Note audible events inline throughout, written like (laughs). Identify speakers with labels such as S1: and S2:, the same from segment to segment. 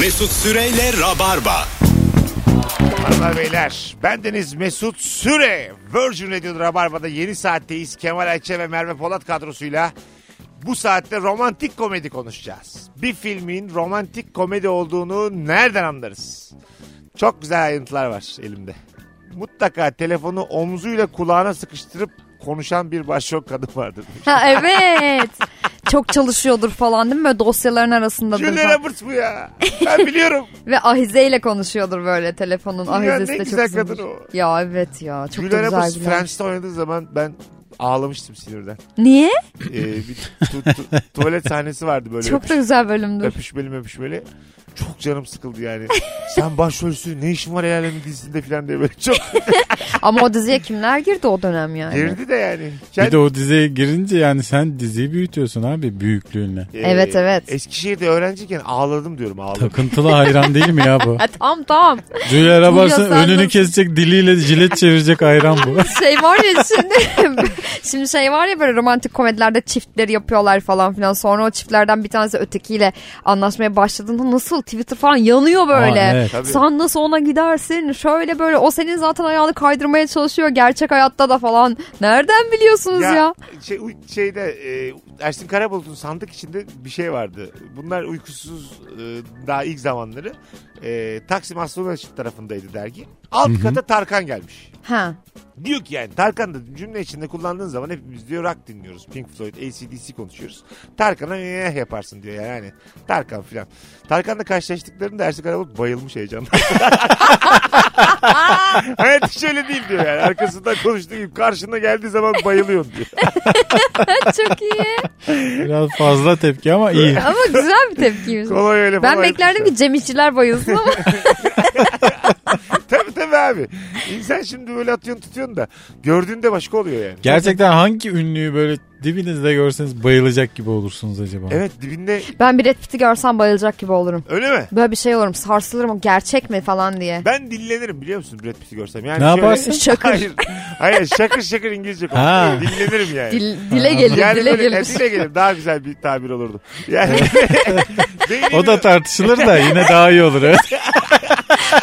S1: Mesut Süreyle Rabarba.
S2: Hanımlar beyler ben Deniz Mesut Süre Virgin Radio Rabarba'da yeni saatteyiz Kemal Ayçe ve Merve Polat kadrosuyla bu saatte romantik komedi konuşacağız. Bir filmin romantik komedi olduğunu nereden anlarız? Çok güzel ayrıntılar var elimde. Mutlaka telefonu omzuyla kulağına sıkıştırıp konuşan bir başrol kadın vardır.
S3: Ha
S2: (laughs)
S3: evet. Çok çalışıyordur falan değil mi? Böyle dosyaların arasındadır.
S2: Julia
S3: falan.
S2: Roberts bu ya. Ben biliyorum.
S3: Ve ahizeyle konuşuyordur böyle telefonun
S2: Julia ne
S3: ahizesi de çok
S2: güzel
S3: uzundur.
S2: kadın o.
S3: Ya evet ya (laughs) çok da
S2: Julia
S3: güzel
S2: Roberts
S3: güler.
S2: Friends'te oynadığı zaman ben ağlamıştım sinirden.
S3: Niye?
S2: Ee, bir tu- tu- tuvalet sahnesi vardı böyle.
S3: Çok da güzel bölümdür.
S2: öpüşmeli öpüşmeli. Çok canım sıkıldı yani. Sen başrolsün ne işin var el alemin dizisinde falan diye böyle
S3: (laughs)
S2: çok
S3: Ama o diziye kimler girdi o dönem yani?
S2: girdi de yani.
S4: Bir de o diziye girince yani sen diziyi büyütüyorsun abi büyüklüğünle.
S2: Ee,
S3: Evet, evet.
S2: Eskişehir'de öğrenciyken ağladım diyorum ağladım.
S4: Takıntılı hayran değil mi ya
S3: (laughs)
S4: bu?
S3: Ha, tam tam.
S4: Julia Roberts'ın
S3: Julia sen
S4: önünü
S3: nasıl-
S4: kesecek diliyle jilet çevirecek hayran
S3: (laughs)
S4: bu.
S3: Şey var ya şimdi (laughs) şimdi şey var ya böyle romantik komedilerde çiftleri yapıyorlar falan filan. Sonra o çiftlerden bir tanesi ötekiyle anlaşmaya başladığında nasıl Twitter falan yanıyor böyle.
S4: Aa, evet.
S2: Tabii.
S3: Sen nasıl ona gidersin? Şöyle böyle o senin zaten ayağını kaydırmaya çalışıyor gerçek hayatta da falan. Nereden biliyorsunuz ya?
S2: Şey, uy- şeyde e, Ersin Karabulut'un sandık içinde bir şey vardı. Bunlar uykusuz e, daha ilk zamanları. E, Taksim Aslı Mescid tarafındaydı dergi. Alt kata Tarkan gelmiş.
S3: Ha.
S2: Diyor ki yani Tarkan da cümle içinde kullandığın zaman hepimiz diyor rock dinliyoruz. Pink Floyd, ACDC konuşuyoruz. Tarkan'a ne yaparsın diyor yani. Hani Tarkan filan. Tarkan'la karşılaştıklarında Ersin Karabulut bayılmış heyecanla. (laughs) Hayat hiç öyle değil diyor yani. Arkasından konuştuğu gibi karşına geldiği zaman bayılıyorsun diyor.
S3: Çok iyi.
S4: Biraz fazla tepki ama iyi.
S3: Ama güzel bir tepkiymiş.
S2: Kolay öyle
S3: Ben
S2: falan
S3: beklerdim ki
S2: yapmışlar.
S3: Cem İşçiler bayılsın ama
S2: şey. Tabii tabii abi. İnsan şimdi böyle atıyorsun tutuyorsun da gördüğünde başka oluyor yani.
S4: Gerçekten hangi ünlüyü böyle dibinizde görseniz bayılacak gibi olursunuz acaba?
S2: Evet dibinde
S3: (laughs) ben bir Brad Pitt'i görsem bayılacak gibi olurum.
S2: öyle mi?
S3: Böyle bir şey olurum sarsılırım o gerçek mi falan diye.
S2: Ben dillenirim biliyor musun Brad Pitt'i görsem. Yani
S4: Ne
S2: şöyle-
S4: yaparsın?
S3: Şakır.
S2: Hayır. Hayır şakır şakır İngilizce
S4: Ha.
S2: konuşuyorum. Dillenirim yani.
S3: Dil- dile gelir
S2: yani
S3: dile
S2: böyle-
S3: gelir.
S2: e, dile gelir. Daha güzel bir tabir olurdu. Yani (laughs) beynimi-
S4: O da tartışılır da yine daha iyi olur. Evet.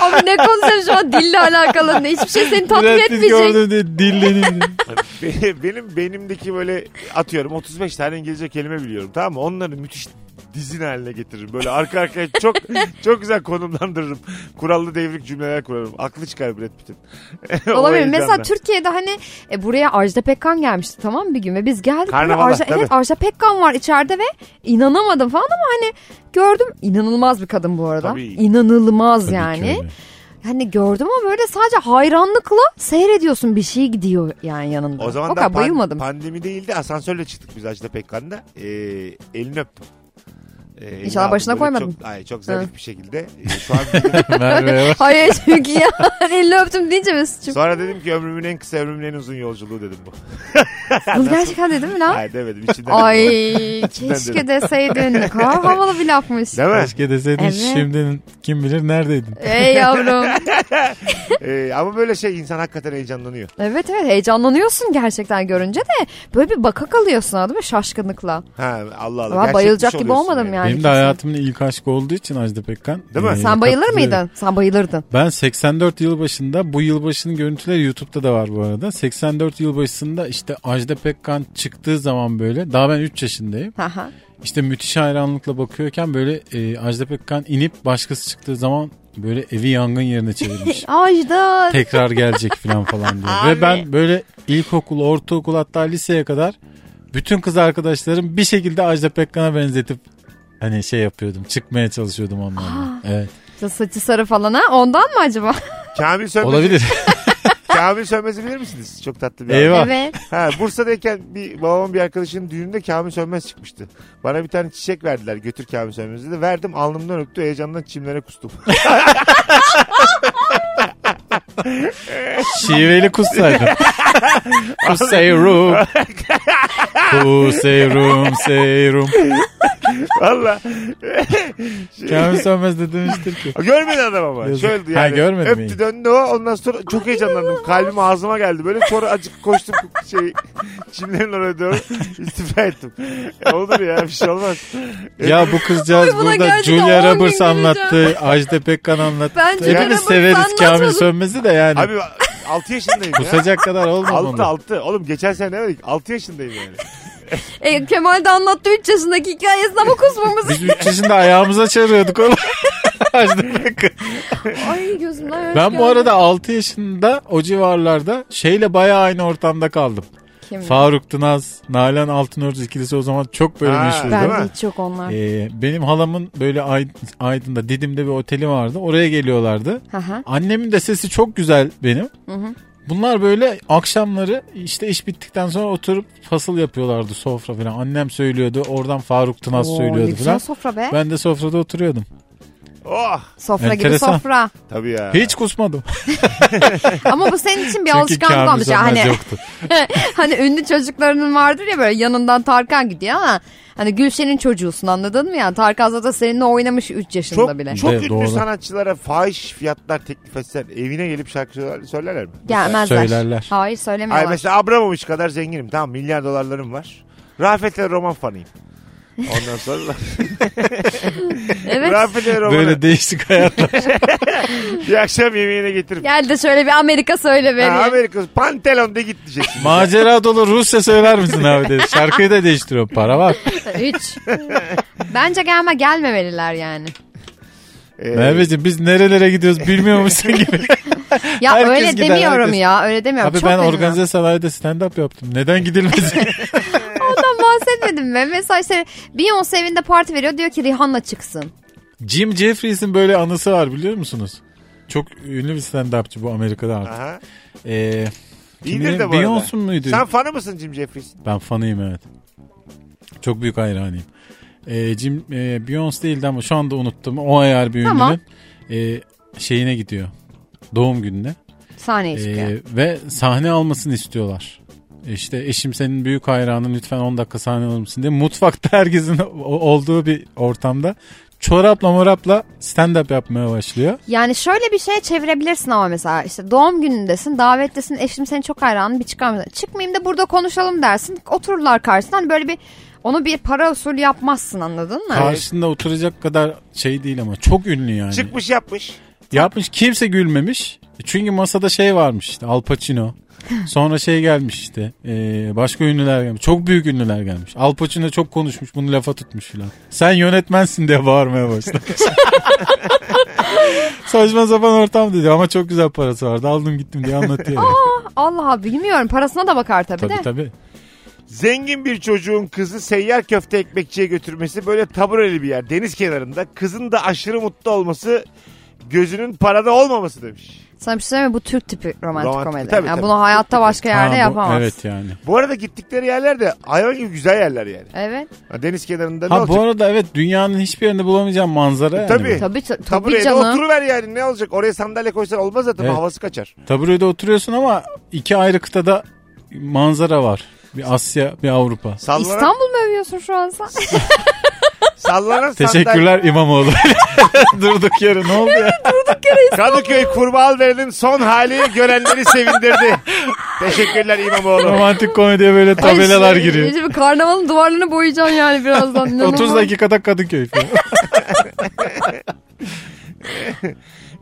S3: Abi ne konuşuyorsun şu an dille alakalı ne hiçbir şey seni tatmin
S4: Brad Pitt
S3: etmeyecek.
S4: gördüm diye
S3: (laughs)
S4: dillenin.
S2: (laughs) Be- benim beynimdeki böyle atıyorum 35 tane İngilizce kelime biliyorum tamam mı? Onları müthiş dizin haline getiririm. Böyle arka arkaya
S3: (laughs)
S2: çok çok güzel konumlandırırım. Kurallı devrik cümleler kurarım. Aklı çıkar Brad Pitt'in. (laughs) O
S3: Olabilir.
S2: heyecandan.
S3: Mesela Türkiye'de hani e, buraya Ajda Pekkan gelmişti tamam mı bir gün ve biz geldik. buraya
S2: Karnavala,
S3: Ajda,
S2: tabii.
S3: evet Ajda Pekkan var içeride ve inanamadım falan ama hani gördüm inanılmaz bir kadın bu arada.
S2: Tabii.
S3: İnanılmaz
S4: Tabii ki
S3: yani.
S4: öyle.
S3: Hani gördüm ama böyle sadece hayranlıkla seyrediyorsun bir şey gidiyor yani yanında.
S2: O zaman da
S3: kadar
S2: pan-
S3: bayılmadım.
S2: pandemi değildi. Asansörle çıktık biz Ajda Pekkan'da. Ee, elini öptüm. Ee, elini
S3: İnşallah
S2: aldım.
S3: başına
S2: Böyle
S3: koymadın.
S2: Çok, ay, çok zarif bir şekilde. Ee, şu an bildim.
S4: Merve'ye bak.
S3: Hayır çünkü ya (laughs) elini öptüm deyince
S2: (laughs)
S3: Mesut'cum.
S2: Sonra dedim ki ömrümün en kısa ömrümün en uzun yolculuğu dedim bu.
S3: Bunu gerçekten dedim mi lan?
S2: Ay demedim içinden.
S4: (laughs)
S3: Ay
S2: dedim.
S3: keşke deseydin. Ne kadar havalı bir lafmış.
S2: Değil
S3: (laughs)
S2: mi?
S4: Keşke deseydin
S3: Evet.
S4: şimdi kim bilir neredeydin.
S3: Ey yavrum.
S2: Ee, ama böyle şey insan hakikaten heyecanlanıyor.
S3: Evet evet heyecanlanıyorsun gerçekten görünce de böyle bir baka kalıyorsun değil mi şaşkınlıkla.
S2: Ha Allah Allah.
S3: Ama
S2: Gerçekmiş
S3: bayılacak gibi
S2: oluyorsun
S3: olmadım yani.
S4: Benim de
S3: kesin.
S4: hayatımın ilk aşkı olduğu için Ajda Pekkan.
S2: Değil mi?
S4: e,
S3: Sen bayılır
S4: katılıyorum.
S3: mıydın? Sen bayılırdın.
S4: Ben 84 yılbaşında bu yılbaşının görüntüleri YouTube'da da var bu arada. 84 yılbaşında işte Ajda Pekkan çıktığı zaman böyle daha ben 3 yaşındayım.
S3: Haha.
S4: İşte müthiş hayranlıkla bakıyorken böyle e, Ajda Pekkan inip başkası çıktığı zaman böyle evi yangın
S3: (laughs)
S4: yerine çevirmiş.
S3: Ajda.
S4: Tekrar gelecek falan falan diyor. Ve
S3: Abi.
S4: ben böyle ilkokul, ortaokul hatta liseye kadar bütün kız arkadaşlarım bir şekilde Ajda Pekkan'a benzetip hani şey yapıyordum. Çıkmaya çalışıyordum onlarla. Evet.
S3: İşte Saçı sarı falan ha ondan mı acaba?
S2: Kamil Sönmez,
S4: Olabilir.
S2: (laughs) Kamil Sönmez'i bilir misiniz? Çok tatlı bir
S4: (laughs) Eyvah.
S2: adam.
S4: Var.
S3: evet.
S2: Ha, Bursa'dayken bir babamın bir arkadaşının düğününde Kamil Sönmez çıkmıştı. Bana bir tane çiçek verdiler götür Kamil Sönmez'i dedi. Verdim alnımdan öptü heyecandan çimlere kustum. (laughs)
S4: Şiveli kussaydın. Kusseyrum. Kuseyrum seyrum.
S2: Valla.
S4: Kamil Sönmez de demiştir ki.
S2: Görmedi adam ama.
S4: Yazık.
S2: Şöyle yani.
S4: Ha, görmedim
S2: Öptü
S4: iyi.
S2: döndü o. Ondan sonra çok heyecanlandım. Kalbim ağzıma geldi. Böyle sonra acık koştum şey Çimlerin oraya doğru istifa ettim. E, olur ya bir şey olmaz.
S4: Ya bu kızcağız
S3: Ay, buna
S4: burada
S3: gerçekten on
S4: Julia
S3: gün
S4: Roberts
S3: güleceğim.
S4: anlattı. Ajda Pekkan anlattı.
S3: Bence
S4: Hepimiz
S3: Roberts
S4: severiz
S3: anlatmadı.
S4: Kamil Sönmez'i de yani.
S2: Abi 6 yaşındayım ya.
S4: Kusacak kadar olmaz
S2: 6
S4: onu.
S2: 6. Oğlum geçen sene ne dedik? 6 yaşındayım yani.
S3: E, Kemal de anlattı 3 yaşındaki hikayesini ama
S4: (laughs)
S3: kusmamız.
S4: Biz 3 yaşında ayağımıza çarıyorduk (laughs) onu. Ajda Pekkan.
S3: Ay gözümden yaş
S4: Ben bu
S3: geldi.
S4: arada 6 yaşında o civarlarda şeyle bayağı aynı ortamda kaldım.
S3: Kim?
S4: Faruk Tınaz, Nalan Altınöz ikilisi o zaman çok böyle
S2: Ha.
S4: meşhurdu.
S2: Ben-
S3: Bende
S2: Değil mi?
S3: hiç yok onlar.
S4: Ee, benim halamın böyle Ay- Aydın'da Didim'de bir oteli vardı. Oraya geliyorlardı.
S3: Aha.
S4: Annemin de sesi çok güzel benim. Bunlar böyle akşamları işte iş bittikten sonra oturup fasıl yapıyorlardı sofra falan. Annem söylüyordu. Oradan Faruk Tınaz
S3: Oo, ne
S4: söylüyordu
S3: güzel
S4: falan.
S3: sofra be.
S4: Ben de sofrada oturuyordum.
S2: Oh
S3: Sofra
S4: Enteresan.
S3: gibi sofra.
S2: tabii ya.
S4: Hiç kusmadım.
S3: Ama bu senin için bir
S4: Çünkü
S3: alışkanlık
S4: Kamil
S3: olmuş. ya.
S4: Sönmez
S3: Hani,
S4: yoktu.
S3: (laughs) hani ünlü çocuklarının vardır ya böyle yanından Tarkan gidiyor ama hani Gülşen'in çocuğusun anladın mı ya? Tarkan zaten seninle oynamış 3 yaşında
S2: çok,
S3: bile.
S2: çok
S4: Evet,
S2: ünlü
S4: doğru.
S2: sanatçılara fahiş fiyatlar teklif etsen evine gelip şarkı söyler- söylerler mi?
S3: Gelmezler.
S4: Söylerler.
S3: Hayır
S2: Ay
S3: söylemiyorlar.
S2: mesela Abramovich kadar zenginim. Tamam milyar dolarlarım var. Rafet'le roman fanıyım. Ondan sonra
S3: evet.
S2: Rafet'le romanı
S4: Böyle değişik hayatlar.
S2: bir akşam yemeğine getiririm.
S3: Gel de şöyle bir Amerika söyle
S2: Ha,
S3: beni.
S2: Amerika Pantelon'da git
S4: (laughs)
S2: diyeceksin.
S4: Macera dolu Rusça söyler misin abi dedi. Şarkıyı da değiştiriyor. Para var.
S3: Hiç. Bence gelme gelmemeliler yani.
S2: Ee,
S4: Merveciğim biz nerelere gidiyoruz bilmiyor musun gibi.
S3: Ya
S4: Herkes
S3: öyle
S4: gider,
S3: demiyorum
S4: herkes.
S3: ya öyle demiyorum.
S4: abi
S3: Çok
S4: ben
S3: üzülüyorum.
S4: organize sanayide stand-up yaptım. Neden
S2: (laughs)
S4: gidilmez?
S3: Ondan bahsetmedim ben. Mesela işte Beyoncé evinde parti veriyor diyor ki Rihanna çıksın.
S4: Jim Jeffries'in böyle anısı var biliyor musunuz? Çok ünlü bir stand-upçı bu Amerika'da artık.
S2: Aha.
S4: Ee,
S2: İyidir de bu arada.
S4: Beyoncé muydu?
S2: Sen fanı mısın Jim Jeffries?
S4: Ben fanıyım evet. Çok büyük hayranıyım. Ee, Jim, e, Beyoncé değildi ama şu anda unuttum. O ayar bir ünlünün
S3: Tamam.
S4: e, şeyine gidiyor. Doğum gününe.
S3: Sahneye
S4: Ee,
S3: çıkıyor.
S4: ve sahne almasını istiyorlar. İşte eşim senin büyük hayranın lütfen 10 dakika sahne alır mısın diye mutfakta herkesin o- olduğu bir ortamda çorapla morapla stand up yapmaya başlıyor.
S3: Yani şöyle bir şeye çevirebilirsin ama mesela işte doğum günündesin, davetlisin, eşim seni çok hayran bir çıkar mısın? Çıkmayayım da burada konuşalım dersin. Otururlar karşısına hani böyle bir onu bir para usulü yapmazsın anladın mı?
S4: Karşısında oturacak kadar şey değil ama çok ünlü yani.
S2: Çıkmış yapmış.
S4: Yapmış kimse gülmemiş. Çünkü masada şey varmış işte Al Pacino. Sonra şey gelmiş işte e, başka ünlüler gelmiş. Çok büyük ünlüler gelmiş. Al Pacino çok konuşmuş bunu lafa tutmuş filan. Sen yönetmensin diye
S3: (laughs)
S4: bağırmaya başlamış. Saçma sapan ortam dedi ama çok güzel parası vardı aldım gittim diye anlatıyor.
S3: Allah Allah bilmiyorum parasına da bakar tabii, de.
S4: tabii tabii.
S2: Zengin bir çocuğun kızı seyyar köfte ekmekçiye götürmesi böyle tabureli bir yer. Deniz kenarında. Kızın da aşırı mutlu olması gözünün parada olmaması demiş.
S3: Sana bir şey söyleyeyim mi? Bu Türk tipi romantik,
S2: Romantik,
S3: komedi.
S2: tabii,
S3: yani
S2: tabii.
S3: Bunu hayatta başka
S4: Ha,
S3: yerde
S4: bu-
S3: yapamazsın.
S4: Evet yani.
S2: Bu arada gittikleri yerler de hayvan gibi güzel yerler yani.
S3: Evet.
S2: Ha, Deniz kenarında ne
S4: Ha
S2: olacak?
S4: bu arada evet dünyanın hiçbir yerinde bulamayacağın manzara yani.
S2: Tabii.
S4: bu.
S3: Tabii, tabii,
S2: Tabureye de
S3: canım.
S2: oturuver yani ne olacak? Oraya sandalye koysan olmaz zaten
S4: Evet.
S2: havası kaçar.
S4: Taburede oturuyorsun ama iki ayrı kıtada manzara var. Bir Asya bir Avrupa.
S2: Sallanan,
S3: İstanbul mu övüyorsun şu an sen?
S2: sallanan sandalye.
S4: Teşekkürler İmamoğlu. (laughs) Durduk yere ne oldu ya?
S2: Kadıköy Kurbağalı'nın son hali görenleri sevindirdi. Teşekkürler İmamoğlu.
S4: Romantik komediye böyle (laughs)
S2: şey,
S4: tabelalar
S3: Ay,
S4: giriyor.
S3: Şey, Şimdi karnavalın duvarlarını boyayacaksın yani
S4: (laughs)
S3: birazdan. İnanılmaz.
S4: 30 dakikada Kadıköy
S2: (laughs)
S4: falan.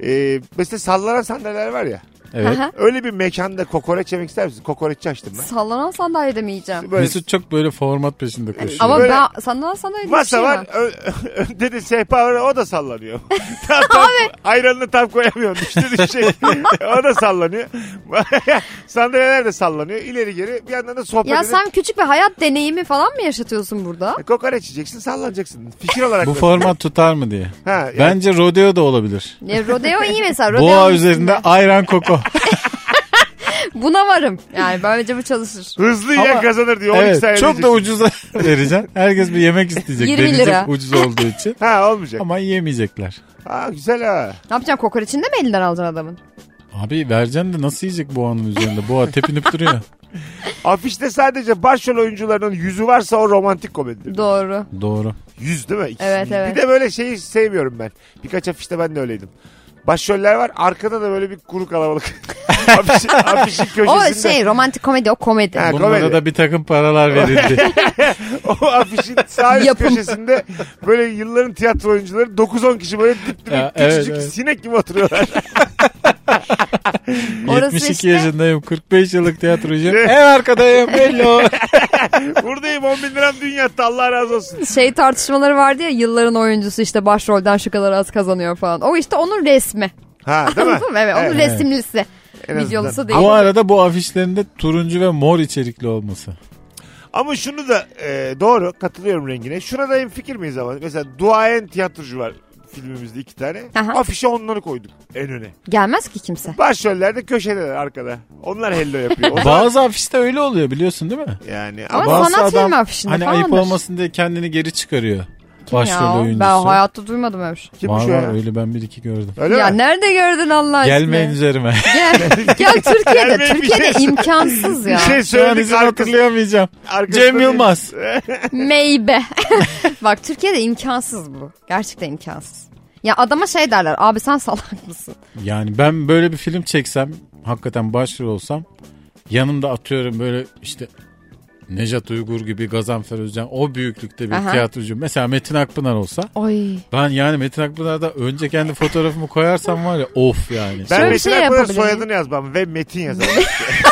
S2: Ee, mesela sallanan sandalyeler var ya.
S4: Evet.
S3: Aha.
S2: Öyle bir mekanda kokoreç yemek ister misin? Kokoreççi açtım ben.
S3: Sallanan sandalyede mi yiyeceğim?
S2: Böyle
S4: Mesut çok böyle format peşinde koşuyor.
S3: Ama
S2: Böyle-
S3: ben sallanan sandalyede bir
S2: masa
S3: şey
S2: var.
S3: var.
S2: ö- Önde de sehpa var. O da
S3: (laughs)
S2: sallanıyor. tam, tam, ayranını tam koyamıyorsun. Düştü düşecek. o da sallanıyor. (laughs) Sandalyeler de sallanıyor. İleri geri. Bir yandan da sohbet
S3: Ya
S2: edip
S3: sen küçük bir hayat deneyimi falan mı yaşatıyorsun burada?
S2: kokoreç yiyeceksin sallanacaksın. Fikir olarak.
S4: Bu
S2: da-
S4: format tutar mı diye.
S2: Ha, yani-
S4: Bence rodeo da olabilir.
S3: Ya rodeo iyi mesela. Rodeo
S4: Boğa
S3: üstünde.
S4: üzerinde
S2: (laughs)
S4: ayran koko.
S3: Buna varım. Yani böylece bu çalışır.
S2: Hızlı yiyen
S4: Ama-
S2: kazanır diyor. 12 saniye
S4: evet, çok da
S2: diyeceksin.
S4: ucuza (laughs) vereceksin. Herkes bir yemek isteyecek.
S3: 20
S4: deneyecek
S3: lira.
S4: ucuz olduğu için.
S2: Ha olmayacak.
S4: Ama yemeyecekler.
S2: Ha güzel ha.
S3: Ne yapacaksın kokoreçinde mi elinden alacaksın adamın?
S2: (laughs)
S4: Abi vereceksin de nasıl yiyecek boğanın üzerinde? Boğa tepinip duruyor.
S2: Afişte sadece başrol oyuncularının yüzü varsa o romantik komedidir.
S3: Doğru.
S4: Doğru.
S2: Yüz değil mi? İkisi.
S3: Evet, evet.
S2: Bir de böyle şeyi sevmiyorum ben. Birkaç afişte ben de öyleydim. Başroller var arkada da böyle bir kuru
S3: (laughs)
S2: kalabalık. Afiş, afişin köşesinde.
S3: O şey romantik komedi o komedi.
S2: Ha,
S4: Bunlara
S2: komedi.
S4: da bir takım
S2: (laughs)
S4: paralar verildi.
S2: (laughs) O afişin sağ üst
S3: Yapım.
S2: köşesinde böyle yılların tiyatro oyuncuları 9-10 kişi böyle dip dibe
S4: Ya,
S2: küçücük
S4: evet, evet.
S2: sinek gibi oturuyorlar.
S3: (laughs) Orası
S4: 72
S3: işte-
S4: yaşındayım. 45
S3: (laughs)
S4: yıllık tiyatrocuyum.
S2: Evet.
S4: en arkadayım. Belli o.
S2: Buradayım 10 bin liram dün yattı Allah razı olsun.
S3: Şey tartışmaları vardı ya yılların oyuncusu işte başrolden şu kadar az kazanıyor falan. O işte onun resmi.
S2: Ha değil mi?
S3: Anladın mı? Evet, onun
S2: Evet.
S3: resimlisi.
S2: En azından.
S3: Videolusu değil.
S4: Bu arada bu afişlerinde turuncu ve mor içerikli olması.
S2: Ama şunu da e, doğru katılıyorum rengine. Şuna da en fikir miyiz ama? Mesela duayen tiyatrocu var filmimizde iki tane.
S3: Aha.
S2: Afişe onları koyduk en öne.
S3: Gelmez ki kimse.
S2: Başroller de köşedeler arkada. Onlar hello
S4: (laughs)
S2: yapıyor. O zaman-
S4: Bazı afişte öyle oluyor biliyorsun değil mi?
S2: yani
S3: Ama
S2: ama
S4: Bazı
S3: sanat
S4: adam
S3: filmi afişinde
S4: hani
S3: falandır.
S4: ayıp olmasın diye kendini geri çıkarıyor. Başrol
S3: Ya,
S4: oyuncusu.
S3: Ben hayatta duymadım öyle bir şey.
S2: kimmiş
S4: var
S2: o
S4: var
S2: ya?
S4: öyle ben bir iki gördüm.
S2: Öyle
S3: ya
S2: mi?
S3: nerede gördün Allah
S4: Gelmeyin
S3: aşkına?
S4: üzerime.
S2: (laughs)
S3: Gel, gel Türkiye'de.
S2: Gelmeyin bir
S3: Türkiye'de
S2: şey- (laughs)
S3: imkansız
S2: Bir
S3: ya.
S2: şey
S4: Şu an
S2: söyledik
S4: izin
S2: arkasında.
S4: hatırlayamayacağım.
S2: arkasında
S4: Cem
S2: değil.
S4: Yılmaz.
S3: Meybe. (laughs) Bak Türkiye'de imkansız bu. Gerçekten imkansız. Ya adama şey derler abi sen salak mısın?
S4: Yani ben böyle bir film çeksem hakikaten başrol olsam yanımda atıyorum böyle işte Nejat Uygur gibi Gazanfer Özcan o büyüklükte bir
S3: Aha.
S4: tiyatrocu. Mesela Metin Akpınar olsa
S3: Ay.
S4: ben yani Metin Akpınar'da önce kendi fotoğrafımı koyarsam var ya of yani.
S2: Ben
S3: Şöyle bir
S2: Metin
S3: şey
S2: Akpınar'ın
S3: yapabilir miyim?
S2: soyadını yazmam ve Metin yazarım.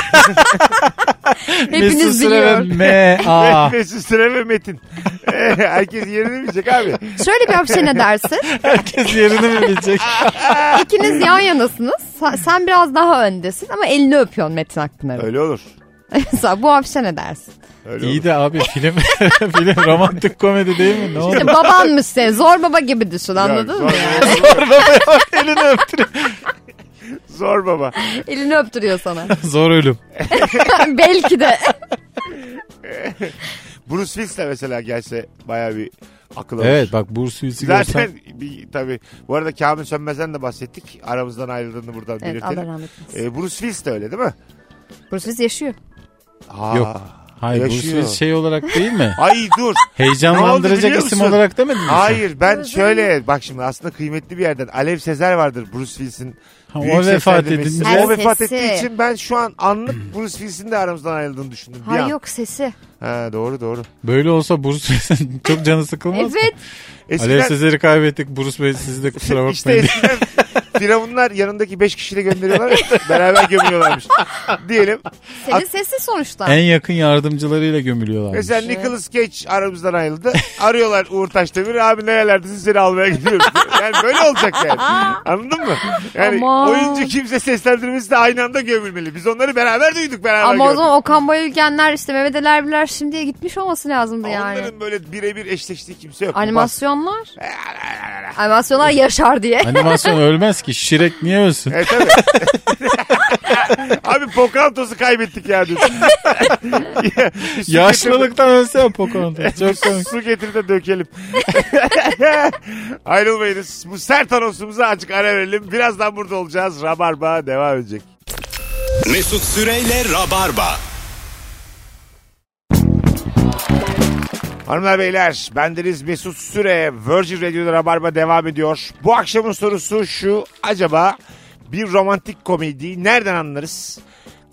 S4: (laughs) Mesut
S3: Hepiniz
S4: Süre ve
S3: biliyor.
S4: M A.
S2: (laughs) Mesut Süre ve Metin. (laughs) Herkes yerini bilecek abi.
S3: Şöyle bir hapşe ne
S2: (laughs)
S3: dersin?
S4: Herkes yerini mi bilecek?
S3: İkiniz yan yanasınız. Sa- Sen biraz daha öndesin ama elini öpüyorsun Metin Akpınar'ın.
S2: Öyle olur.
S3: (laughs) Mesela bu hapşe ne dersin?
S2: Öyle olur.
S4: İyi de abi film (laughs) film romantik komedi değil mi? Ne oldu?
S3: İşte babanmış sen. Zor baba gibi düşün anladın mı?
S2: zor baba.
S4: Zor baba elini öptürüyor.
S2: Zor
S4: (laughs)
S2: baba.
S3: Elini öptürüyor sana. (laughs)
S4: Zor ölüm.
S3: Belki de.
S2: Bruce Willis de mesela gelse baya bir akıl alır.
S4: Evet bak Bruce Willis'i görsen.
S2: Zaten bir, tabii bu arada Kamil Sönmez'den de bahsettik. Aramızdan ayrıldığını buradan
S3: Evet Allah
S2: belirtelim.
S3: rahmet eylesin.
S2: Ee, Bruce Willis de öyle değil mi?
S3: Bruce Willis yaşıyor.
S2: Aa.
S4: Yok. Hayır Bruce
S2: Yaşıyor.
S4: Willis şey olarak değil mi?
S2: Ay
S4: (laughs)
S2: dur. Ne oldu
S4: Heyecanlandıracak
S2: biliyor
S4: isim
S2: musun?
S4: olarak demedin mi? sen?
S2: Hayır ben
S3: Bruce
S2: şöyle bak şimdi aslında kıymetli bir yerden Alev Sezer vardır Bruce Willis'in.
S4: Ha,
S2: büyük
S4: o vefat
S2: seslendirmesi.
S4: edince
S3: Her
S2: O vefat
S3: sesi.
S2: ettiği için ben şu an anlık Bruce Willis'in de aramızdan ayrıldığını düşündüm. bir
S3: Hayır
S2: an.
S3: yok sesi.
S2: Ha, doğru doğru.
S4: böyle olsa Bruce Willis'in (laughs) çok canı sıkılmaz. mı?
S3: Evet.
S4: Alev Sezer'i kaybettik Bruce Bey siz de kusura
S2: (laughs)
S4: bakmayın.
S2: İşte eskiden firavunlar yanındaki 5 kişiyle gönderiyorlar ya, beraber gömüyorlarmış. Diyelim.
S3: Senin sesin sonuçta.
S4: En yakın yardımcılarıyla gömülüyorlar.
S2: Mesela
S3: şey.
S2: Nicolas Cage aramızdan ayrıldı. Arıyorlar Uğur Taşdemir. Abi nerelerdesin seni almaya gidiyoruz. Yani böyle olacak yani. Anladın mı? Yani
S3: Aman.
S2: oyuncu kimse seslendirmesi de aynı anda gömülmeli. Biz onları beraber duyduk beraber
S3: Ama o
S2: gördük.
S3: zaman Okan Bayülgenler işte Mehmet Ali Erbiler şimdiye gitmiş olması lazımdı yani.
S2: Onların böyle birebir eşleştiği kimse yok.
S3: Animasyonlar. Animasyonlar yaşar diye.
S4: Animasyon ölmez ki. Şirek niye ölsün?
S2: E tabii. Abi Pocahontas'ı kaybettik ya
S3: (laughs)
S2: diyorsun. (laughs) Ya, bir su
S4: Yaşlılıktan ölse ya Pocahontas. Çok
S2: getir-
S4: komik.
S2: Su getir de dökelim. (laughs) Ayrılmayınız. Bu sert anonsumuza açık ara verelim. Birazdan burada olacağız. Rabarba devam edecek.
S1: Mesut Süreyle Rabarba.
S2: Hanımlar beyler bendeniz Mesut Süre Virgin Radio'da Rabarba devam ediyor. Bu akşamın sorusu şu acaba bir romantik komediyi nereden anlarız?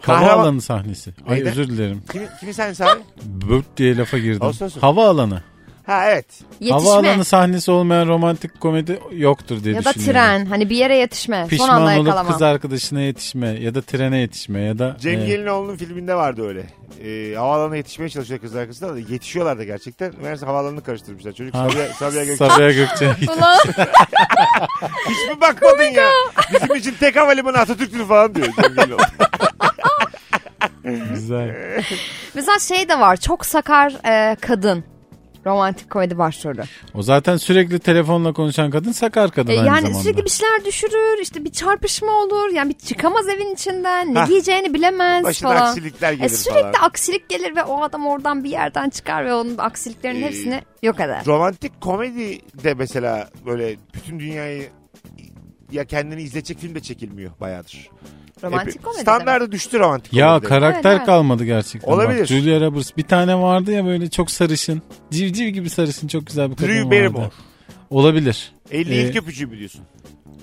S4: Havaalanı sahnesi. Ay
S2: Neydi?
S4: özür dilerim.
S2: Kimi, kimi sen sen?
S4: Böp diye lafa girdim.
S2: Olsun, olsun.
S4: Havaalanı.
S2: Ha evet.
S3: Yetişme.
S4: Havaalanı sahnesi olmayan romantik komedi yoktur diye
S3: Ya da
S4: düşünüyorum.
S3: tren. Hani bir yere yetişme. Son anda
S4: Pişman olup
S3: yakalama.
S4: kız arkadaşına yetişme ya da trene yetişme ya da
S2: Cem
S4: e,
S2: Gelinoğlu'nun filminde vardı öyle. Ee, havaalanına yetişmeye çalışıyor kız arkasında da yetişiyorlar da gerçekten. Meğerse havaalanını karıştırmışlar. Çocuk
S4: Ha.
S2: Sabiha, Sabiha Gökçen.
S4: Sabiha Gökçen.
S3: (laughs) Ulan
S2: Hiç mi bakmadın ya? Bizim için tek havalimanı Atatürk'tür falan diyor.
S3: (laughs)
S2: Cem Gelinoğlu. (laughs)
S4: Güzel.
S3: mesela şey de var. Çok sakar e, kadın. Romantik komedi başrolü.
S4: O zaten sürekli telefonla konuşan kadın sakar kadın
S3: E,
S4: aynı
S3: yani
S4: zamanda.
S3: sürekli bir şeyler düşürür. işte bir çarpışma olur. Yani bir çıkamaz evin içinden. Ne
S2: Hah.
S3: giyeceğini bilemez
S2: Başına
S3: falan.
S2: aksilikler gelir
S3: E, sürekli
S2: falan.
S3: aksilik gelir ve o adam oradan bir yerden çıkar ve onun aksiliklerin
S2: Ee,
S3: hepsini yok eder.
S2: Romantik komedi de mesela böyle bütün dünyayı ya kendini izletecek film de çekilmiyor bayağıdır.
S3: Romantik
S2: Hep-
S3: komedi demek.
S2: Standardı düştü romantik
S4: Ya
S2: komedi.
S4: karakter
S3: şey Evet, evet.
S4: kalmadı gerçekten.
S2: Olabilir.
S4: Bak, Julia Roberts bir tane vardı ya böyle çok sarışın. Civciv gibi sarışın çok güzel bir kadın
S2: Drew
S4: vardı.
S2: Barrymore.
S4: Olabilir.
S2: 50
S4: Ee,
S2: ilk öpücüğü biliyorsun.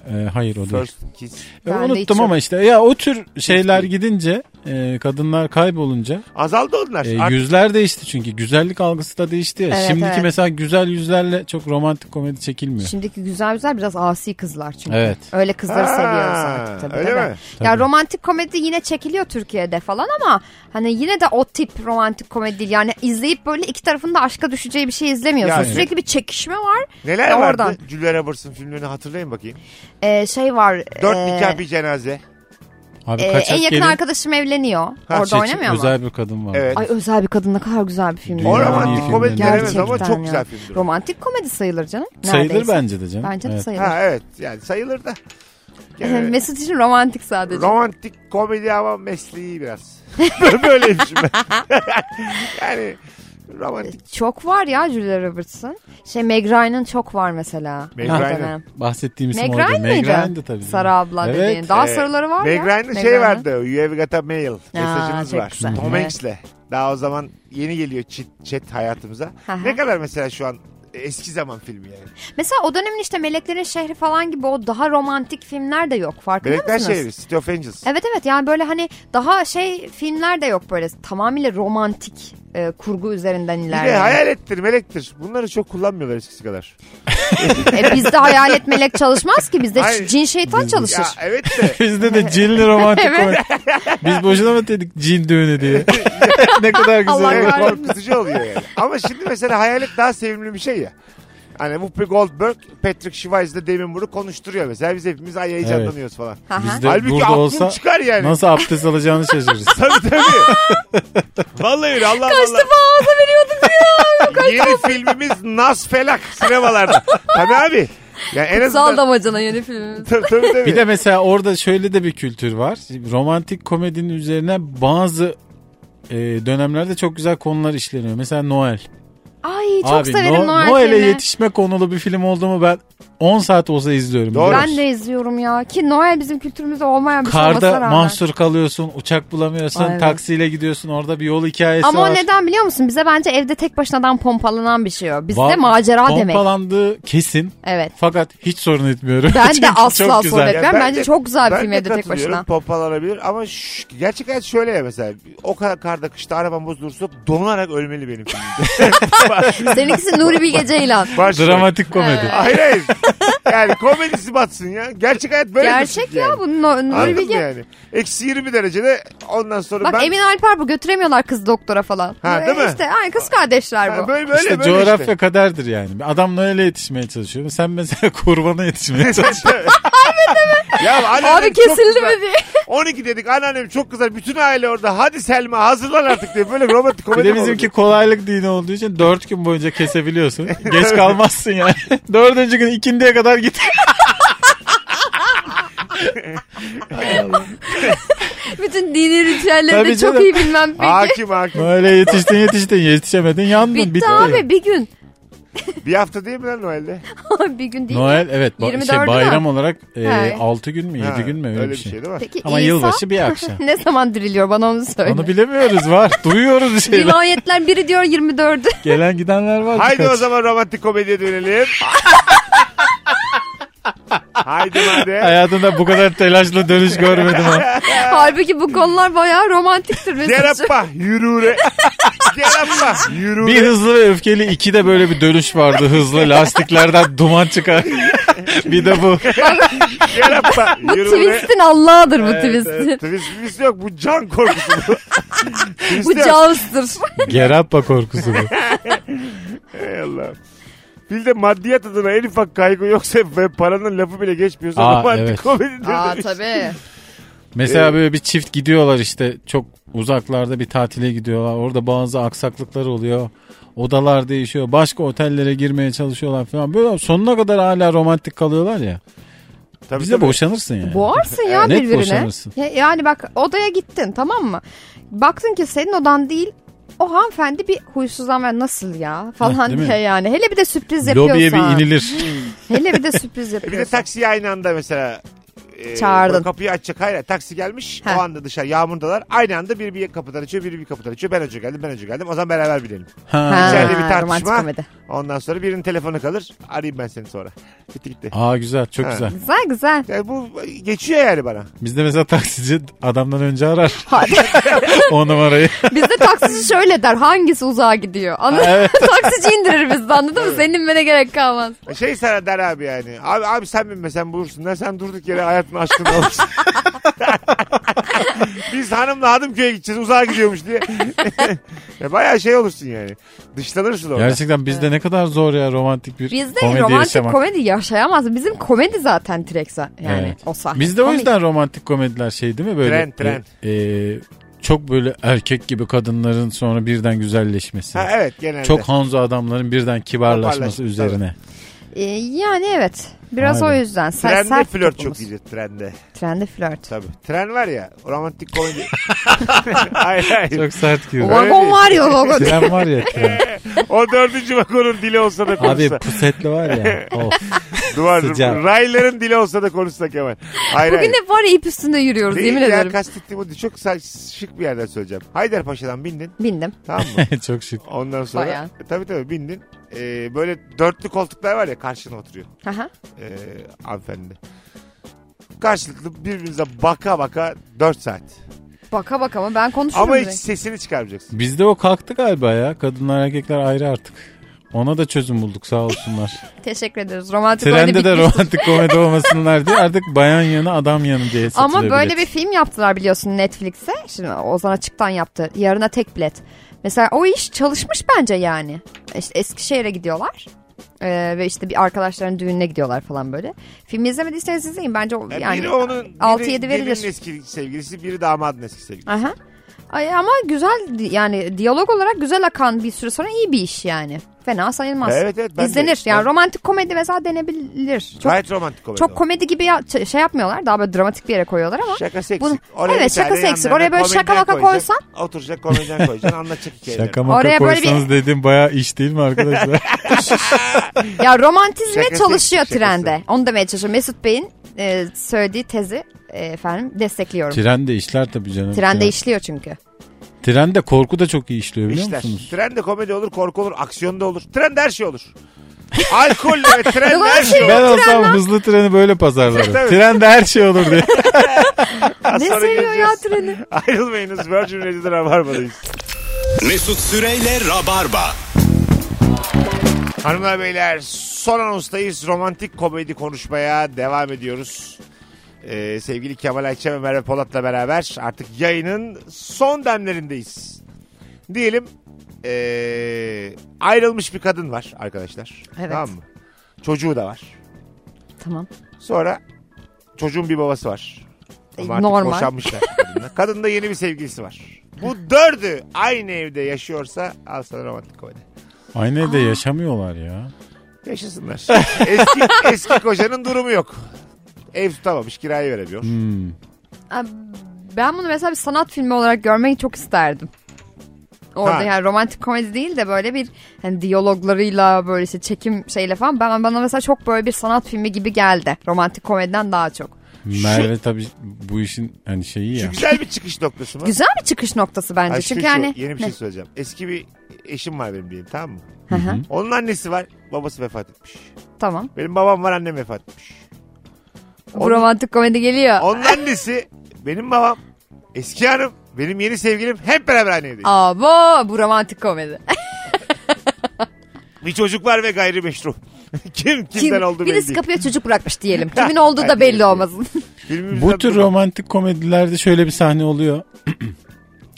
S4: Ee, hayır o değil.
S2: First Kiss.
S4: Ya,
S3: Ben de hiç
S4: unuttum
S3: yok.
S4: ama işte ya o tür şeyler gidince e, kadınlar kaybolunca
S2: Azaldı onlar.
S4: e,
S2: Artık
S4: yüzler değişti çünkü güzellik algısı da değişti. ya.
S3: Evet,
S4: Şimdiki
S3: evet.
S4: mesela güzel yüzlerle çok romantik komedi çekilmiyor.
S3: Şimdiki güzel güzel biraz asi kızlar çünkü.
S4: Evet.
S3: Öyle kızları
S2: Ha,
S3: seviyoruz artık tabii.
S2: öyle
S3: tabii.
S2: mi?
S3: Ya
S4: Tabii.
S3: romantik komedi yine çekiliyor Türkiye'de falan ama hani yine de o tip romantik komedi değil. Yani izleyip böyle iki tarafın da aşka düşeceği bir şey izlemiyorsun.
S2: Yani.
S3: Sürekli bir çekişme var.
S2: neler
S3: Ya
S2: vardı?
S3: E, oradan.
S2: Julia Roberts'ın filmlerini hatırlayın bakayım.
S3: Ee, şey var.
S2: Dört
S3: ee,
S2: nikah bir cenaze.
S4: Abi
S3: ee,
S4: kaçak
S3: en yakın
S4: gelin
S3: arkadaşım evleniyor. Orada
S4: çeçi-
S3: oynamıyor mu?
S4: özel bir kadın var.
S2: Evet.
S3: Ay özel bir kadın ne kadar güzel bir film.
S4: O
S2: O
S4: Dünyanın
S2: romantik
S4: iyi
S2: komedi
S4: filmlerinden.
S2: denemez ama çok
S3: Gerçekten
S2: güzel
S3: ya.
S2: filmdir. o.
S3: Romantik komedi sayılır canım.
S4: Sayılır
S3: Neredeyse.
S4: bence de canım.
S3: Bence de
S4: Evet.
S3: sayılır.
S2: Ha evet yani sayılır
S3: (laughs)
S2: da. Gene-
S3: Mesut için romantik sadece.
S2: romantik komedi ama mesleği biraz. (laughs) Böyleymişim (laughs) ben. yani romantik.
S3: Çok var ya Julia Roberts'ın. Şey Meg Ryan'ın çok var mesela.
S2: Meg
S3: Bu
S2: Ryan'ın.
S3: dönem.
S4: Bahsettiğim isim
S3: Meg
S4: oydu.
S3: Ryan mıydı?
S4: Meg Ryan'dı tabii.
S3: Sara abla
S4: evet.
S3: dediğin.
S4: (laughs)
S3: Daha
S2: Ee,
S3: sarıları var
S2: Meg
S3: ya.
S2: Ryan'da
S3: Meg
S2: şey
S3: Ryan'ın.
S2: vardı. You have got a mail. Mesajımız
S3: çok
S2: var.
S3: güzel.
S2: Tom
S3: Evet.
S2: Hanks'le. Daha o zaman yeni geliyor çit, chat hayatımıza.
S3: Hı hı.
S2: ne kadar mesela şu an eski zaman filmi yani.
S3: Mesela o dönemin işte Meleklerin Şehri falan gibi o daha romantik filmler de yok. Farkında
S2: Melekler
S3: mısınız?
S2: Şehri, City of Angels.
S3: Evet evet yani böyle hani daha şey filmler de yok böyle tamamıyla romantik e, kurgu üzerinden
S2: Bir de
S3: ilerleyen.
S2: hayalettir, melektir. Bunları çok kullanmıyorlar eskisi kadar.
S3: E, bizde hayal et melek çalışmaz ki bizde
S2: Hayır.
S3: cin şeytan çalışır.
S2: Ya evet de
S4: Bizde de
S3: (laughs)
S4: cinli romantik
S3: Evet.
S4: komedi. Biz boşuna mı dedik cin
S3: (laughs)
S4: düğünü diye. ne kadar
S3: Allah
S4: güzel.
S2: evet,
S3: var.
S2: korkutucu oluyor yani. Ama şimdi mesela hayalet daha sevimli bir şey ya. Hani Whoopi Goldberg, Patrick Schweitz'le Demin bunu konuşturuyor mesela. Biz hepimiz ay heyecanlanıyoruz falan.
S3: Aha.
S4: Bizde
S2: Halbuki
S4: burada
S2: aklın
S4: olsa
S2: çıkar yani.
S4: nasıl abdest alacağını
S3: (laughs)
S4: şaşırırız.
S2: Tabii tabii. (laughs) Vallahi öyle Allah
S3: Kaç
S2: Allah.
S3: defa ağza veriyordum
S2: Yeni filmimiz Nas Felak sinemalarda. tabii abi. Yani (laughs) en
S3: Kutsal
S2: azından.
S3: damacana yeni filmimiz.
S2: (laughs) Tabii tabii. tabii.
S4: Bir de mesela orada şöyle de bir kültür var. Şimdi Romantik komedinin üzerine bazı e, dönemlerde çok güzel konular işleniyor. Mesela Noel.
S3: Ay çok severim
S4: No-
S3: Noel
S4: Noel'e
S3: filmi.
S4: yetişme konulu bir film oldu mu ben 10 saat olsa izliyorum.
S2: Doğru.
S4: biliyor
S3: Ben
S4: musun?
S3: de izliyorum ya. Ki Noel bizim kültürümüzde olmayan bir şey olmasına
S4: Karda
S3: rağmen.
S4: mahsur kalıyorsun, uçak bulamıyorsun,
S3: Ay, evet.
S4: taksiyle gidiyorsun. Orada bir yol hikayesi
S3: Ama
S4: var.
S3: o neden biliyor musun? Bize bence evde tek başına adam pompalanan bir şey o. Bizde
S4: Va-
S3: macera demek.
S4: Pompalandığı kesin.
S3: Evet.
S4: Fakat hiç sorun etmiyorum.
S3: Ben de
S4: (laughs) Çünkü
S3: asla
S4: çok
S3: sorun
S4: güzel.
S3: etmiyorum. Ben bence çok güzel bir
S2: ben
S3: film
S2: de
S3: evde tek
S2: katılıyorum.
S3: başına.
S2: Pompalanabilir ama şş, gerçek hayat şöyle ya mesela. O kadar karda kışta arabam bozulursa donarak ölmeli benim filmimde. (laughs)
S3: Seninkisi Nuri Bilge Ceylan.
S2: Baş-
S4: Dramatik komedi.
S2: Hayır hayır. Yani komedisi batsın ya. Gerçek hayat böyle. şey
S3: Gerçek ya
S2: bu.
S3: bu No- Nuri
S2: Anladın mı
S3: Bilge.
S2: yani? Eksi 20 derecede ondan sonra
S3: Bak
S2: ben...
S3: Emin Alper bu götüremiyorlar kız doktora falan.
S2: Ha, değil mi?
S3: İşte aynı kız kardeşler bu.
S2: Ha, böyle böyle
S4: işte
S2: böyle
S4: coğrafya
S2: işte.
S4: kaderdir yani. Adam öyle yetişmeye çalışıyor. Sen mesela (laughs) kurbana yetişmeye çalışıyorsun.
S2: Ya
S3: (laughs)
S2: anneannem
S3: Abi
S2: çok
S3: kesildi
S2: kızar.
S3: mi diye. (laughs)
S2: 12 dedik anneannem çok kızar. Bütün aile orada. Hadi Selma hazırlan artık diye. Böyle romantik komedi
S4: Bir de
S2: mi olur?
S4: bizimki kolaylık dini olduğu için dört gün boyunca kesebiliyorsun. Geç kalmazsın yani. (laughs) Dördüncü gün ikindiye kadar git.
S3: (laughs) Bütün dini ritüelleri de
S4: Tabii
S3: çok
S4: canım.
S3: iyi bilmem peki.
S2: Hakim hakim.
S4: Böyle yetiştin yetiştin yetişemedin yandın bitti.
S3: Bitti, abi bir gün. (laughs)
S2: Bir hafta değil mi lan Noel'de?
S3: bir gün değil.
S4: Noel evet ba-
S3: 24'ü
S4: şey,
S3: mü?
S4: bayram olarak e,
S3: He.
S4: 6 gün mü 7
S2: Ha,
S4: gün mü öyle, bir şey.
S2: değil mi?
S3: Peki
S4: Ama
S3: İsa
S4: yılbaşı bir akşam.
S3: (laughs) ne zaman diriliyor bana onu söyle. (laughs)
S4: Onu bilemiyoruz var. Duyuyoruz bir şeyler.
S3: Rivayetler biri diyor 24'ü.
S4: Gelen gidenler var.
S2: Haydi
S4: birkaç.
S2: o zaman romantik komediye
S3: (laughs)
S2: dönelim. Haydi madem.
S4: Hayatımda bu kadar telaşla dönüş görmedim. (laughs) Ha.
S3: (laughs) Halbuki bu konular bayağı romantiktir Mesut'cum.
S2: Gerappa
S3: (laughs)
S2: yürüre. Gerappa yürüre.
S4: Bir hızlı ve öfkeli iki de böyle bir dönüş vardı hızlı. Lastiklerden duman (laughs) çıkar. bir de bu.
S2: Gerappa (laughs)
S3: Bu
S2: yürüre.
S3: twist'in Allah'ıdır bu twist'in.
S2: Twist, twist yok bu can korkusu.
S3: (laughs)
S2: bu. Twist
S3: Bu
S2: yok.
S3: Jaws'tır.
S2: (laughs)
S4: Gerappa korkusu bu.
S2: Ey Allah'ım. Filde maddiyat adına en ufak kaygı yoksa ve paranın lafı bile geçmiyorsa (laughs)
S4: Aa,
S2: romantik
S4: evet.
S2: komedidir.
S3: (laughs) Aa
S2: demiş.
S3: tabii.
S4: Mesela böyle bir çift gidiyorlar işte çok uzaklarda bir tatile gidiyorlar. Orada bazı aksaklıklar oluyor. Odalar değişiyor. Başka otellere girmeye çalışıyorlar falan. Böyle sonuna kadar hala romantik kalıyorlar ya.
S2: Tabii,
S4: Bize
S2: tabii.
S4: boşanırsın yani.
S3: Boğarsın ya
S4: Net
S3: birbirine.
S4: boşanırsın.
S3: Ya- Yani bak odaya gittin tamam mı? Baktın ki senin odan değil o hanımefendi bir huysuzlanma nasıl ya
S4: Heh,
S3: falan
S4: değil mi?
S3: diye yani. Hele bir de sürpriz
S4: Lobiye
S3: yapıyorsan. Hmm.
S4: bir inilir.
S3: Hele
S4: (laughs)
S3: bir de sürpriz
S2: E bir de
S3: yapıyorsan.
S2: taksiye aynı anda mesela e,
S3: Çağırdın.
S2: Kapıyı açacak hayır taksi gelmiş
S3: Heh.
S2: o anda dışarı yağmurdalar aynı anda biri bir kapıdan açıyor biri bir kapıdan açıyor ben önce geldim ben önce geldim o zaman beraber binelim.
S3: Ha,
S4: Ha.
S2: İçeride bir
S3: romantik
S2: tartışma
S3: komedi.
S2: ondan sonra birinin telefonu kalır arayayım ben seni sonra bitti gitti.
S4: Aa güzel çok
S2: Ha.
S4: güzel.
S3: Güzel güzel.
S2: Yani bu geçiyor yani bana.
S4: Bizde mesela taksici adamdan önce arar
S3: Hadi.
S4: (laughs)
S2: (laughs)
S4: o numarayı.
S3: Bizde taksici şöyle der hangisi uzağa gidiyor. Anladın mı? (laughs) taksici indirir bizde anladın mı? Senin inmene gerek kalmaz.
S2: Şey sana der abi yani. Abi, abi sen binme sen bulursun. Ne sen durduk yere hayatını açtın da olursun. (laughs) Biz hanımla Hadımköy'e gideceğiz uzağa gidiyormuş diye. (laughs) e, bayağı şey olursun yani. Dışlanırsın orada.
S4: Gerçekten bizde ne kadar zor ya romantik bir
S3: Bizde
S4: komedi
S3: romantik
S4: yaşamak.
S3: komedi yaşayamaz. Bizim komedi zaten Trex'e yani
S4: Evet.
S3: o sahne.
S4: Bizde o
S3: Komik.
S4: yüzden romantik komediler şey değil mi böyle?
S2: Trend, trend.
S4: e, e, çok böyle erkek gibi kadınların sonra birden güzelleşmesi.
S2: Ha, evet genelde.
S4: Çok Hanzo adamların birden kibarlaşması
S2: Kibarlaşması,
S4: üzerine.
S3: Ee, yani evet. Biraz
S4: Aynen.
S3: o yüzden. Ser,
S2: Trende
S3: sert
S2: flört
S3: tutumuz.
S2: çok iyidir trende.
S3: Trende flört.
S2: Tabii. Tren var ya romantik
S4: (laughs)
S2: komedi. hayır hayır.
S4: Çok sert gibi.
S3: Vagon
S2: değil.
S3: var
S2: (laughs)
S3: ya vagon.
S4: Tren var ya tren.
S2: O dördüncü vagonun dili olsa da
S4: Abi
S2: konuşsa.
S4: pusetli
S2: (laughs)
S4: var ya. Of. (laughs)
S2: Duvar,
S4: sıcak.
S2: rayların dili olsa da konuşsa Kemal. Hayır, hayır.
S3: Bugün hep var ya ip üstünde yürüyoruz
S2: Değil
S3: yemin
S2: ya,
S3: ederim.
S2: kastettiğim o değil. çok sa- şık bir yerden söyleyeceğim. Haydarpaşa'dan bindin
S3: Bindim.
S2: tamam
S3: (laughs)
S2: mı?
S4: çok şık.
S2: Ondan sonra e,
S3: Bayağı.
S2: tabii tabii bindin. Ee, böyle dörtlü koltuklar var ya karşına oturuyor
S3: Aha.
S2: ee, hanımefendi. Karşılıklı birbirinize baka baka 4 saat.
S3: Baka baka ama ben konuşurum
S2: Ama hiç
S3: direkt.
S2: sesini çıkarmayacaksın.
S4: Bizde o kalktı galiba ya. Kadınlar erkekler ayrı artık. Ona da çözüm bulduk sağ olsunlar.
S3: (laughs) Teşekkür ederiz. Romantik komedi
S4: Trende de
S3: bitmiştir.
S4: romantik komedi olmasınlar diye artık bayan yanı adam yanı diye satılıyor
S3: Ama böyle
S4: bilet.
S3: bir film yaptılar biliyorsun Netflix'e. Şimdi Ozan Açık'tan yaptı. Yarına tek bilet. Mesela o iş çalışmış bence yani. İşte Eskişehir'e gidiyorlar. Ee, ve işte bir arkadaşların düğününe gidiyorlar falan böyle. Filmi izlemediyseniz izleyin. Bence o,
S2: Yani,
S3: yani
S2: E, biri onun
S3: 6-7
S2: Birinin
S3: verilir.
S2: eski sevgilisi, biri damadın eski sevgilisi.
S3: Aha. Ay, ama güzel di- yani diyalog olarak güzel akan bir süre sonra iyi bir iş yani. Fena sayılmaz.
S2: Evet, evet, ben de-
S3: İzlenir. yani
S2: ben-
S3: romantik komedi mesela denebilir. Çok
S2: Gayet romantik komedi.
S3: çok
S2: o.
S3: komedi gibi ya- ç- şey yapmıyorlar. Daha böyle dramatik bir yere koyuyorlar ama.
S2: Şakası eksik.
S3: Bunu-
S2: Oraya
S3: Evet,
S2: bir tane
S3: şakası eksik.
S2: yanlarına
S3: Oraya böyle şaka
S2: komedyen
S3: maka
S2: koyacaksın. Oturacak komedyen koyacaksın anlatacak hikayeleri.
S4: (laughs) Şaka maka
S3: Oraya böyle bir-
S4: koysanız dediğim bayağı iş değil
S3: (laughs)
S4: mi arkadaşlar?
S3: Ya romantizme
S2: Şakası,
S3: çalışıyor
S2: şakası.
S3: trende. Onu demeye çalışıyorum. Mesut Bey'in e, söylediği tezi e, efendim destekliyorum.
S4: Trende işler tabii canım.
S3: Trende
S4: Ya.
S2: (laughs)
S3: işliyor çünkü.
S4: Trende korku da çok iyi işliyor biliyor
S2: İşler.
S4: musunuz?
S2: Trende komedi olur, korku olur, aksiyon da olur. Trende her şey olur. Alkol
S3: (laughs)
S2: ve trende her
S3: Dolayısıyla
S2: şey olur.
S4: Ben olsam hızlı treni böyle pazarlarım.
S2: Tabii.
S4: Trende her şey olur
S3: (laughs)
S4: diye.
S2: Az
S3: ne
S2: sonra
S3: seviyor ya
S2: geleceğiz.
S3: treni?
S2: (laughs) Ayrılmayınız Virgin Radio'da Rabarba'dayız.
S1: Mesut Süreyle Rabarba.
S2: Hanımlar beyler son anonstayız. Romantik komedi konuşmaya devam ediyoruz. Ee, sevgili Kemal Ayça ve Merve Polat'la beraber artık yayının son demlerindeyiz. Diyelim ee, ayrılmış bir kadın var arkadaşlar.
S3: Evet.
S2: Tamam mı? Çocuğu da var.
S3: Tamam.
S2: Sonra çocuğun bir babası var. Ama artık
S3: E, Normal. (laughs)
S2: boşanmışlar kadınla. Kadında yeni bir sevgilisi var. Bu dördü aynı evde yaşıyorsa al sana romantik komedi.
S4: Aynı evde yaşamıyorlar ya.
S2: Yaşasınlar. (laughs) eski, eski kocanın durumu yok. Ev tutamamış kirayı veremiyor.
S4: Hmm.
S3: Abi, Ben bunu mesela bir sanat filmi olarak görmeyi çok isterdim. Orada
S2: Ha.
S3: yani romantik komedi değil de böyle bir hani diyaloglarıyla böyle işte çekim şeyle falan ben bana mesela çok böyle bir sanat filmi gibi geldi. Romantik komediden daha çok.
S4: Merve tabii bu işin hani şeyi
S2: Şu
S4: ya.
S2: güzel bir çıkış noktası mı?
S3: Güzel bir çıkış noktası bence.
S2: Ay, şu-
S3: Çünkü hani
S2: şu,
S3: yani
S2: Yeni bir şey söyleyeceğim. Eski bir eşim var benim diyelim tamam mı? Onun annesi var babası vefat etmiş.
S3: tamam.
S2: Benim babam var annem vefat etmiş.
S3: Bu romantik komedi geliyor.
S2: Onun annesi benim babam eski hanım benim yeni sevgilim hep beraber aynı evdeyiz.
S3: Abo bu romantik komedi.
S2: Bir çocuk var ve gayrimeşru. (laughs) Kim kimden
S3: Kim-
S2: olduğu belli
S3: Birisi
S2: değil.
S3: kapıya çocuk
S2: (laughs)
S3: bırakmış diyelim. Kimin olduğu da belli olmasın.
S2: Filmimizden
S4: Bu tür
S2: durma.
S4: romantik komedilerde şöyle bir sahne oluyor. (clears throat)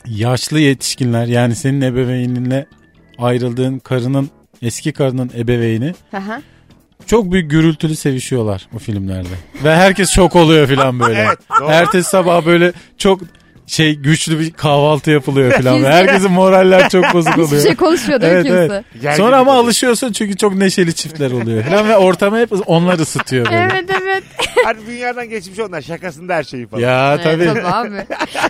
S4: Yaşlı yetişkinler yani senin ebeveyninle ayrıldığın karının eski karının ebeveyni
S3: Aha.
S4: çok büyük gürültülü sevişiyorlar bu filmlerde. Ve herkes şok oluyor
S2: (laughs)
S4: falan böyle.
S2: Evet, doğru.
S4: Ertesi sabah böyle çok şey güçlü bir
S2: (laughs)
S4: kahvaltı yapılıyor falan. Ve
S3: Kimse-
S4: herkesin moraller çok bozuk
S3: Hiçbir
S4: oluyor.
S3: şey konuşmuyor değil mi
S4: Evet,
S3: kimse.
S4: evet.
S2: Gerginlik
S4: Sonra ama
S2: oluyor.
S4: alışıyorsun çünkü çok neşeli çiftler oluyor falan ve ortamı hep onlar ısıtıyor böyle.
S3: Evet evet.
S2: Artık Hani dünyadan geçmiş onlar. Şakasında her şeyi falan.
S4: ya tabii.
S3: Evet, abi.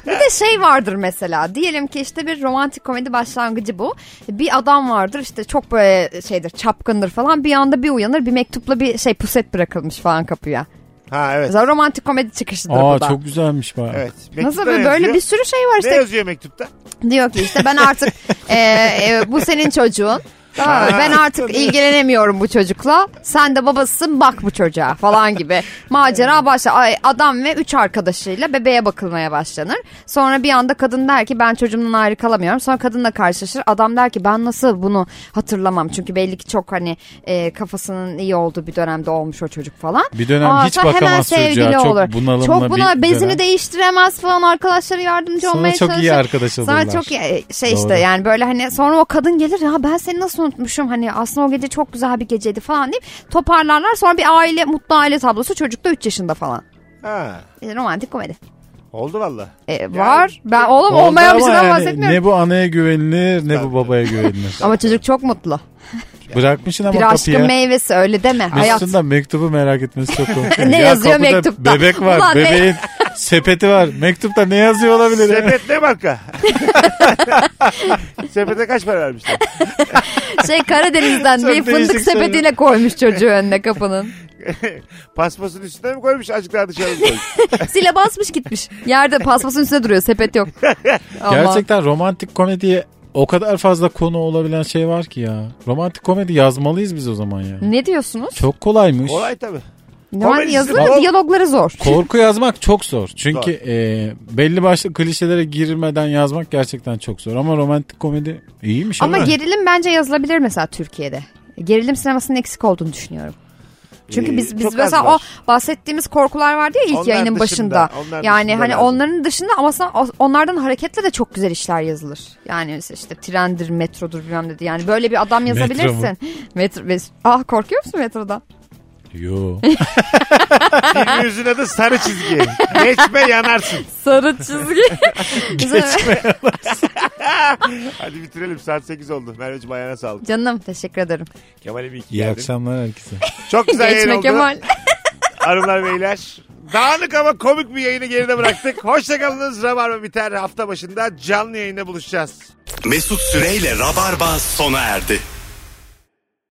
S3: Bir de şey vardır mesela. Diyelim ki işte bir romantik komedi başlangıcı bu. Bir adam vardır işte çok böyle şeydir çapkındır falan. Bir anda bir uyanır bir mektupla bir şey puset bırakılmış falan kapıya.
S2: Ha evet.
S3: Mesela romantik komedi çıkışıdır
S4: Aa
S3: bu da.
S4: çok güzelmiş bak.
S2: Evet.
S3: Nasıl
S2: Mektupta
S3: böyle,
S2: ne
S3: böyle
S2: yazıyor?
S3: bir sürü şey var
S2: Ne
S3: işte.
S2: yazıyor mektupta?
S3: Diyor ki işte ben
S4: (laughs)
S3: artık e, e, bu senin çocuğun. Tamam mı? Ben artık ilgilenemiyorum bu çocukla. Sen de babasısın bak bu çocuğa falan gibi. Macera başlar. Ay, adam ve üç arkadaşıyla bebeğe bakılmaya başlanır. Sonra bir anda kadın der ki ben çocuğumdan ayrı kalamıyorum. Sonra kadınla karşılaşır. Adam der ki ben nasıl bunu hatırlamam. Çünkü belli ki çok hani e, kafasının iyi olduğu bir dönemde olmuş o çocuk falan.
S4: Bir dönem hiç
S3: sonra
S4: bakamaz çocuğa. Çok bunalımlı
S3: Çok bunal-
S4: bir
S3: bezini
S4: dönem.
S3: değiştiremez falan arkadaşları yardımcı
S4: Sana
S3: olmaya
S4: çok iyi
S3: çalışır.
S4: arkadaş
S3: Sana
S4: olurlar.
S3: çok iyi- şey
S4: Doğru.
S3: işte yani böyle hani sonra o kadın gelir ya ben seni nasıl unutmuşum hani aslında o gece çok güzel bir geceydi falan deyip toparlarlar sonra bir aile mutlu aile tablosu çocuk da 3 yaşında falan.
S2: Ha.
S3: E, romantik komedi.
S2: Oldu valla.
S3: E, var. Ben oğlum
S4: Oldu
S3: olmayan bir
S4: ama
S3: şeyden
S4: yani
S3: bahsetmiyorum.
S4: Ne bu anaya güvenilir ne bu
S3: (laughs)
S4: babaya güvenilir.
S3: Ama çocuk çok mutlu.
S4: Bırakmışsın ama
S3: Bir
S4: kapıya.
S3: aşkın meyvesi öyle deme. Hayat.
S4: Mesut'un da mektubu merak etmesi çok komik.
S3: (laughs) Ne yazıyor
S4: kapıda
S3: mektupta?
S4: Bebek var.
S3: Ulan ne-
S4: bebeğin sepeti var. Mektupta ne yazıyor olabilir? ya?
S2: Sepet ne marka? (laughs) Sepete kaç para vermişler?
S3: Şey Karadeniz'den
S4: (laughs) Çok
S3: bir fındık
S4: değişik şeyler.
S3: sepetine koymuş çocuğu önüne kapının.
S2: Paspasın üstüne mi koymuş? Azıcık daha dışarı mı koymuş?
S3: Sile basmış gitmiş. Yerde paspasın üstüne duruyor sepet
S4: (laughs)
S3: yok. Aman.
S4: Gerçekten romantik komediye o kadar fazla konu olabilen şey var ki ya. Romantik komedi yazmalıyız biz o zaman ya.
S3: Ne diyorsunuz?
S4: Çok kolaymış.
S2: Olay tabii.
S3: Yani
S2: komedisi
S3: yazılır
S2: baba-
S3: diyalogları zor.
S4: Korku yazmak çok zor. Çünkü e, belli başlı klişelere girmeden yazmak gerçekten çok zor. Ama romantik komedi
S3: (laughs)
S4: iyiymiş.
S3: Ama
S4: ama.
S3: gerilim bence yazılabilir mesela Türkiye'de. Gerilim sinemasının eksik olduğunu düşünüyorum. Çünkü
S2: Ee,
S3: biz
S2: çok
S3: biz
S2: az
S3: mesela
S2: var.
S3: o bahsettiğimiz korkular vardı ya ilk
S2: Onlar
S3: yayının
S2: dışında,
S3: başında.
S2: onlar
S3: yani
S2: dışında
S3: hani
S2: lazım.
S3: onların dışında ama aslında onlardan hareketle de çok güzel işler yazılır. Yani mesela işte trendir, metrodur bilmem dedi. Yani böyle bir adam
S4: Metro mu?
S3: yazabilirsin. Metro, mes- ah korkuyor musun metrodan?
S4: Yo.
S2: Bir yüzüne de sarı çizgi. Geçme yanarsın.
S3: Sarı (laughs) çizgi.
S2: Hadi bitirelim. Saat 8 oldu. Merveciğim ayağına sağlık.
S3: Canım teşekkür ederim.
S2: Kemal'im iyi ki
S4: İyi
S2: geldin.
S4: akşamlar herkese.
S2: Çok güzel yayın
S3: Geçme
S2: oldu.
S3: Kemal.
S2: Hanımlar beyler. Dağınık ama komik bir yayını geride bıraktık. Hoşçakalınız. Rabarba biter. Hafta başında canlı yayında buluşacağız.
S1: Mesut Süreyle Rabarba sona erdi.